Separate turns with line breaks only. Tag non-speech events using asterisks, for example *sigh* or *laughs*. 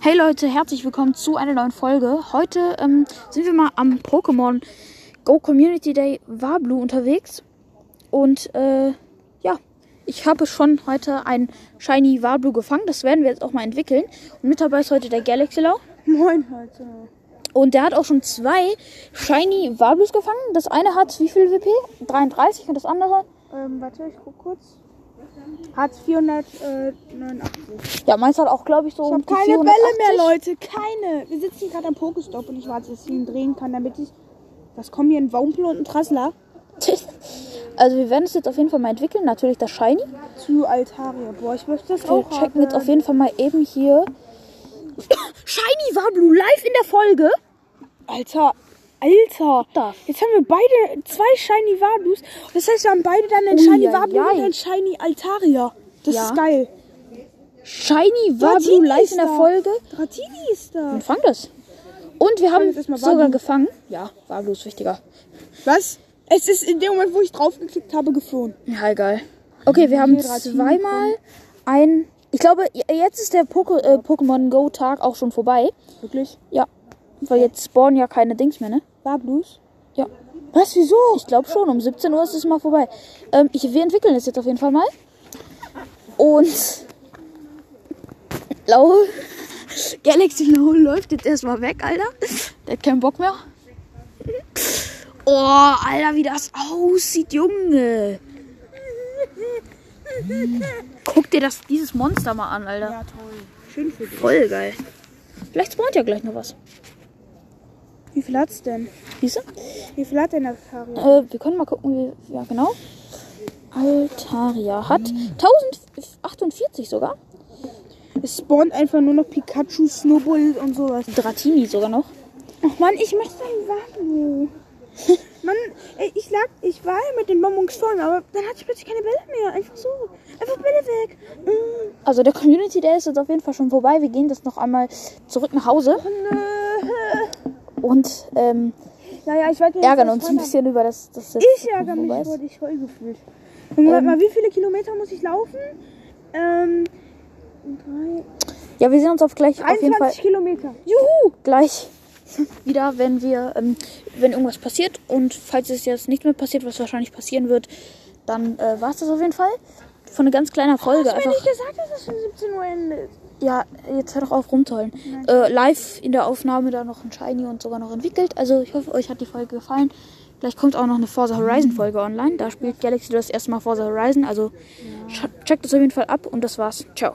Hey Leute, herzlich willkommen zu einer neuen Folge. Heute ähm, sind wir mal am Pokémon Go Community Day Wablu unterwegs. Und äh, ja, ich habe schon heute ein Shiny Wablu gefangen. Das werden wir jetzt auch mal entwickeln. Und mit dabei ist heute der Galaxylau.
Moin, Leute.
Und der hat auch schon zwei Shiny Wablus gefangen. Das eine hat wie viel WP? 33 und das andere?
Ähm, warte, ich guck kurz. äh, Hat 489.
Ja, meins hat auch, glaube ich, so
Ich
um
habe
die
keine Bälle
480.
mehr, Leute. Keine. Wir sitzen gerade am Pokestop und ich warte, dass ich ihn drehen kann, damit ich. Was kommen hier? Ein Wampel und ein Trassler?
*laughs* Also wir werden es jetzt auf jeden Fall mal entwickeln. Natürlich das Shiny.
Zu Altaria. Boah, ich möchte das
Wir
auch.
checken jetzt auf
haben.
jeden Fall mal eben hier. Shiny Wablu live in der Folge.
Alter. Alter.
Da.
Jetzt haben wir beide zwei Shiny Wablus. Das heißt, wir haben beide dann einen
Ui,
Shiny
ei,
Wablu
ei.
und einen Shiny Altaria. Das
Ja.
ist geil.
Shiny Wablu
Dratini
live
ist
in der
da.
Folge.
Dratini ist da.
Und fang das. Und wir haben
jetzt erstmal
sogar
Wablu.
gefangen. Ja, Wablu ist wichtiger.
Was? Es ist in dem Moment, wo ich draufgeklickt habe, geflohen.
Ja, egal. Okay, wir haben
Dratini
zweimal ein. Ich glaube, j- jetzt ist der Poke, äh, Pokémon Go Tag auch schon vorbei.
Wirklich?
Ja. Weil jetzt spawnen ja keine Dings mehr, ne?
Wablus?
Ja. Was, wieso? Ich glaube schon, um 17 Uhr ist es mal vorbei. Ähm, ich, wir entwickeln das jetzt auf jeden Fall mal. Und. *laughs* Lau. *laughs* Galaxy Lau läuft jetzt erstmal weg, Alter. Der hat keinen Bock mehr. Oh, Alter, wie das aussieht, Junge. Guck dir das, dieses Monster mal an, Alter.
Ja, toll. Schön für dich.
Voll geil. Vielleicht spawnt ja gleich noch was.
Wie viel hat's denn?
Siehst du?
Wie viel hat denn der Kario?
Äh, wir können mal gucken, wie. Ja, genau. Altaria hat 1048 sogar.
Es spawnt einfach nur noch Pikachu, Snowball und sowas.
Dratini sogar noch.
Ach man, ich möchte einen *laughs* Wablu. Mann, ey, ich lag, ich war ja mit den Bonbons voll, aber dann hatte ich plötzlich keine Bälle mehr. Einfach so. Einfach Bälle weg. Mm.
Also der Community Day ist jetzt auf jeden Fall schon vorbei. Wir gehen das noch einmal zurück nach Hause und ähm,
Naja, ich werde
ärgern uns ein bisschen über das. das jetzt
Ich ärgere mich,
vorbei ist.
wurde ich voll gefühlt. Und warte mal, wie viele Kilometer muss ich laufen? Ähm, drei,
Ja, wir sehen uns auf gleich auf jeden Fall
21 Kilometer.
Juhu! gleich *laughs* wieder, wenn wir, ähm, wenn irgendwas passiert und falls es jetzt nicht mehr passiert, was wahrscheinlich passieren wird, dann äh, war es das auf jeden Fall. Von einer ganz kleiner Folge
Hast du
einfach.
mir nicht gesagt, dass es um 17 Uhr endet?
Ja, jetzt hör doch auf rumtollen. Äh, live in der Aufnahme da noch ein Shiny und sogar noch entwickelt. Also ich hoffe, euch hat die Folge gefallen. Vielleicht kommt auch noch eine Forza Horizon Folge online. Da spielt Galaxy das erste Mal Forza Horizon. Also scha- checkt es auf jeden Fall ab und das war's. Ciao.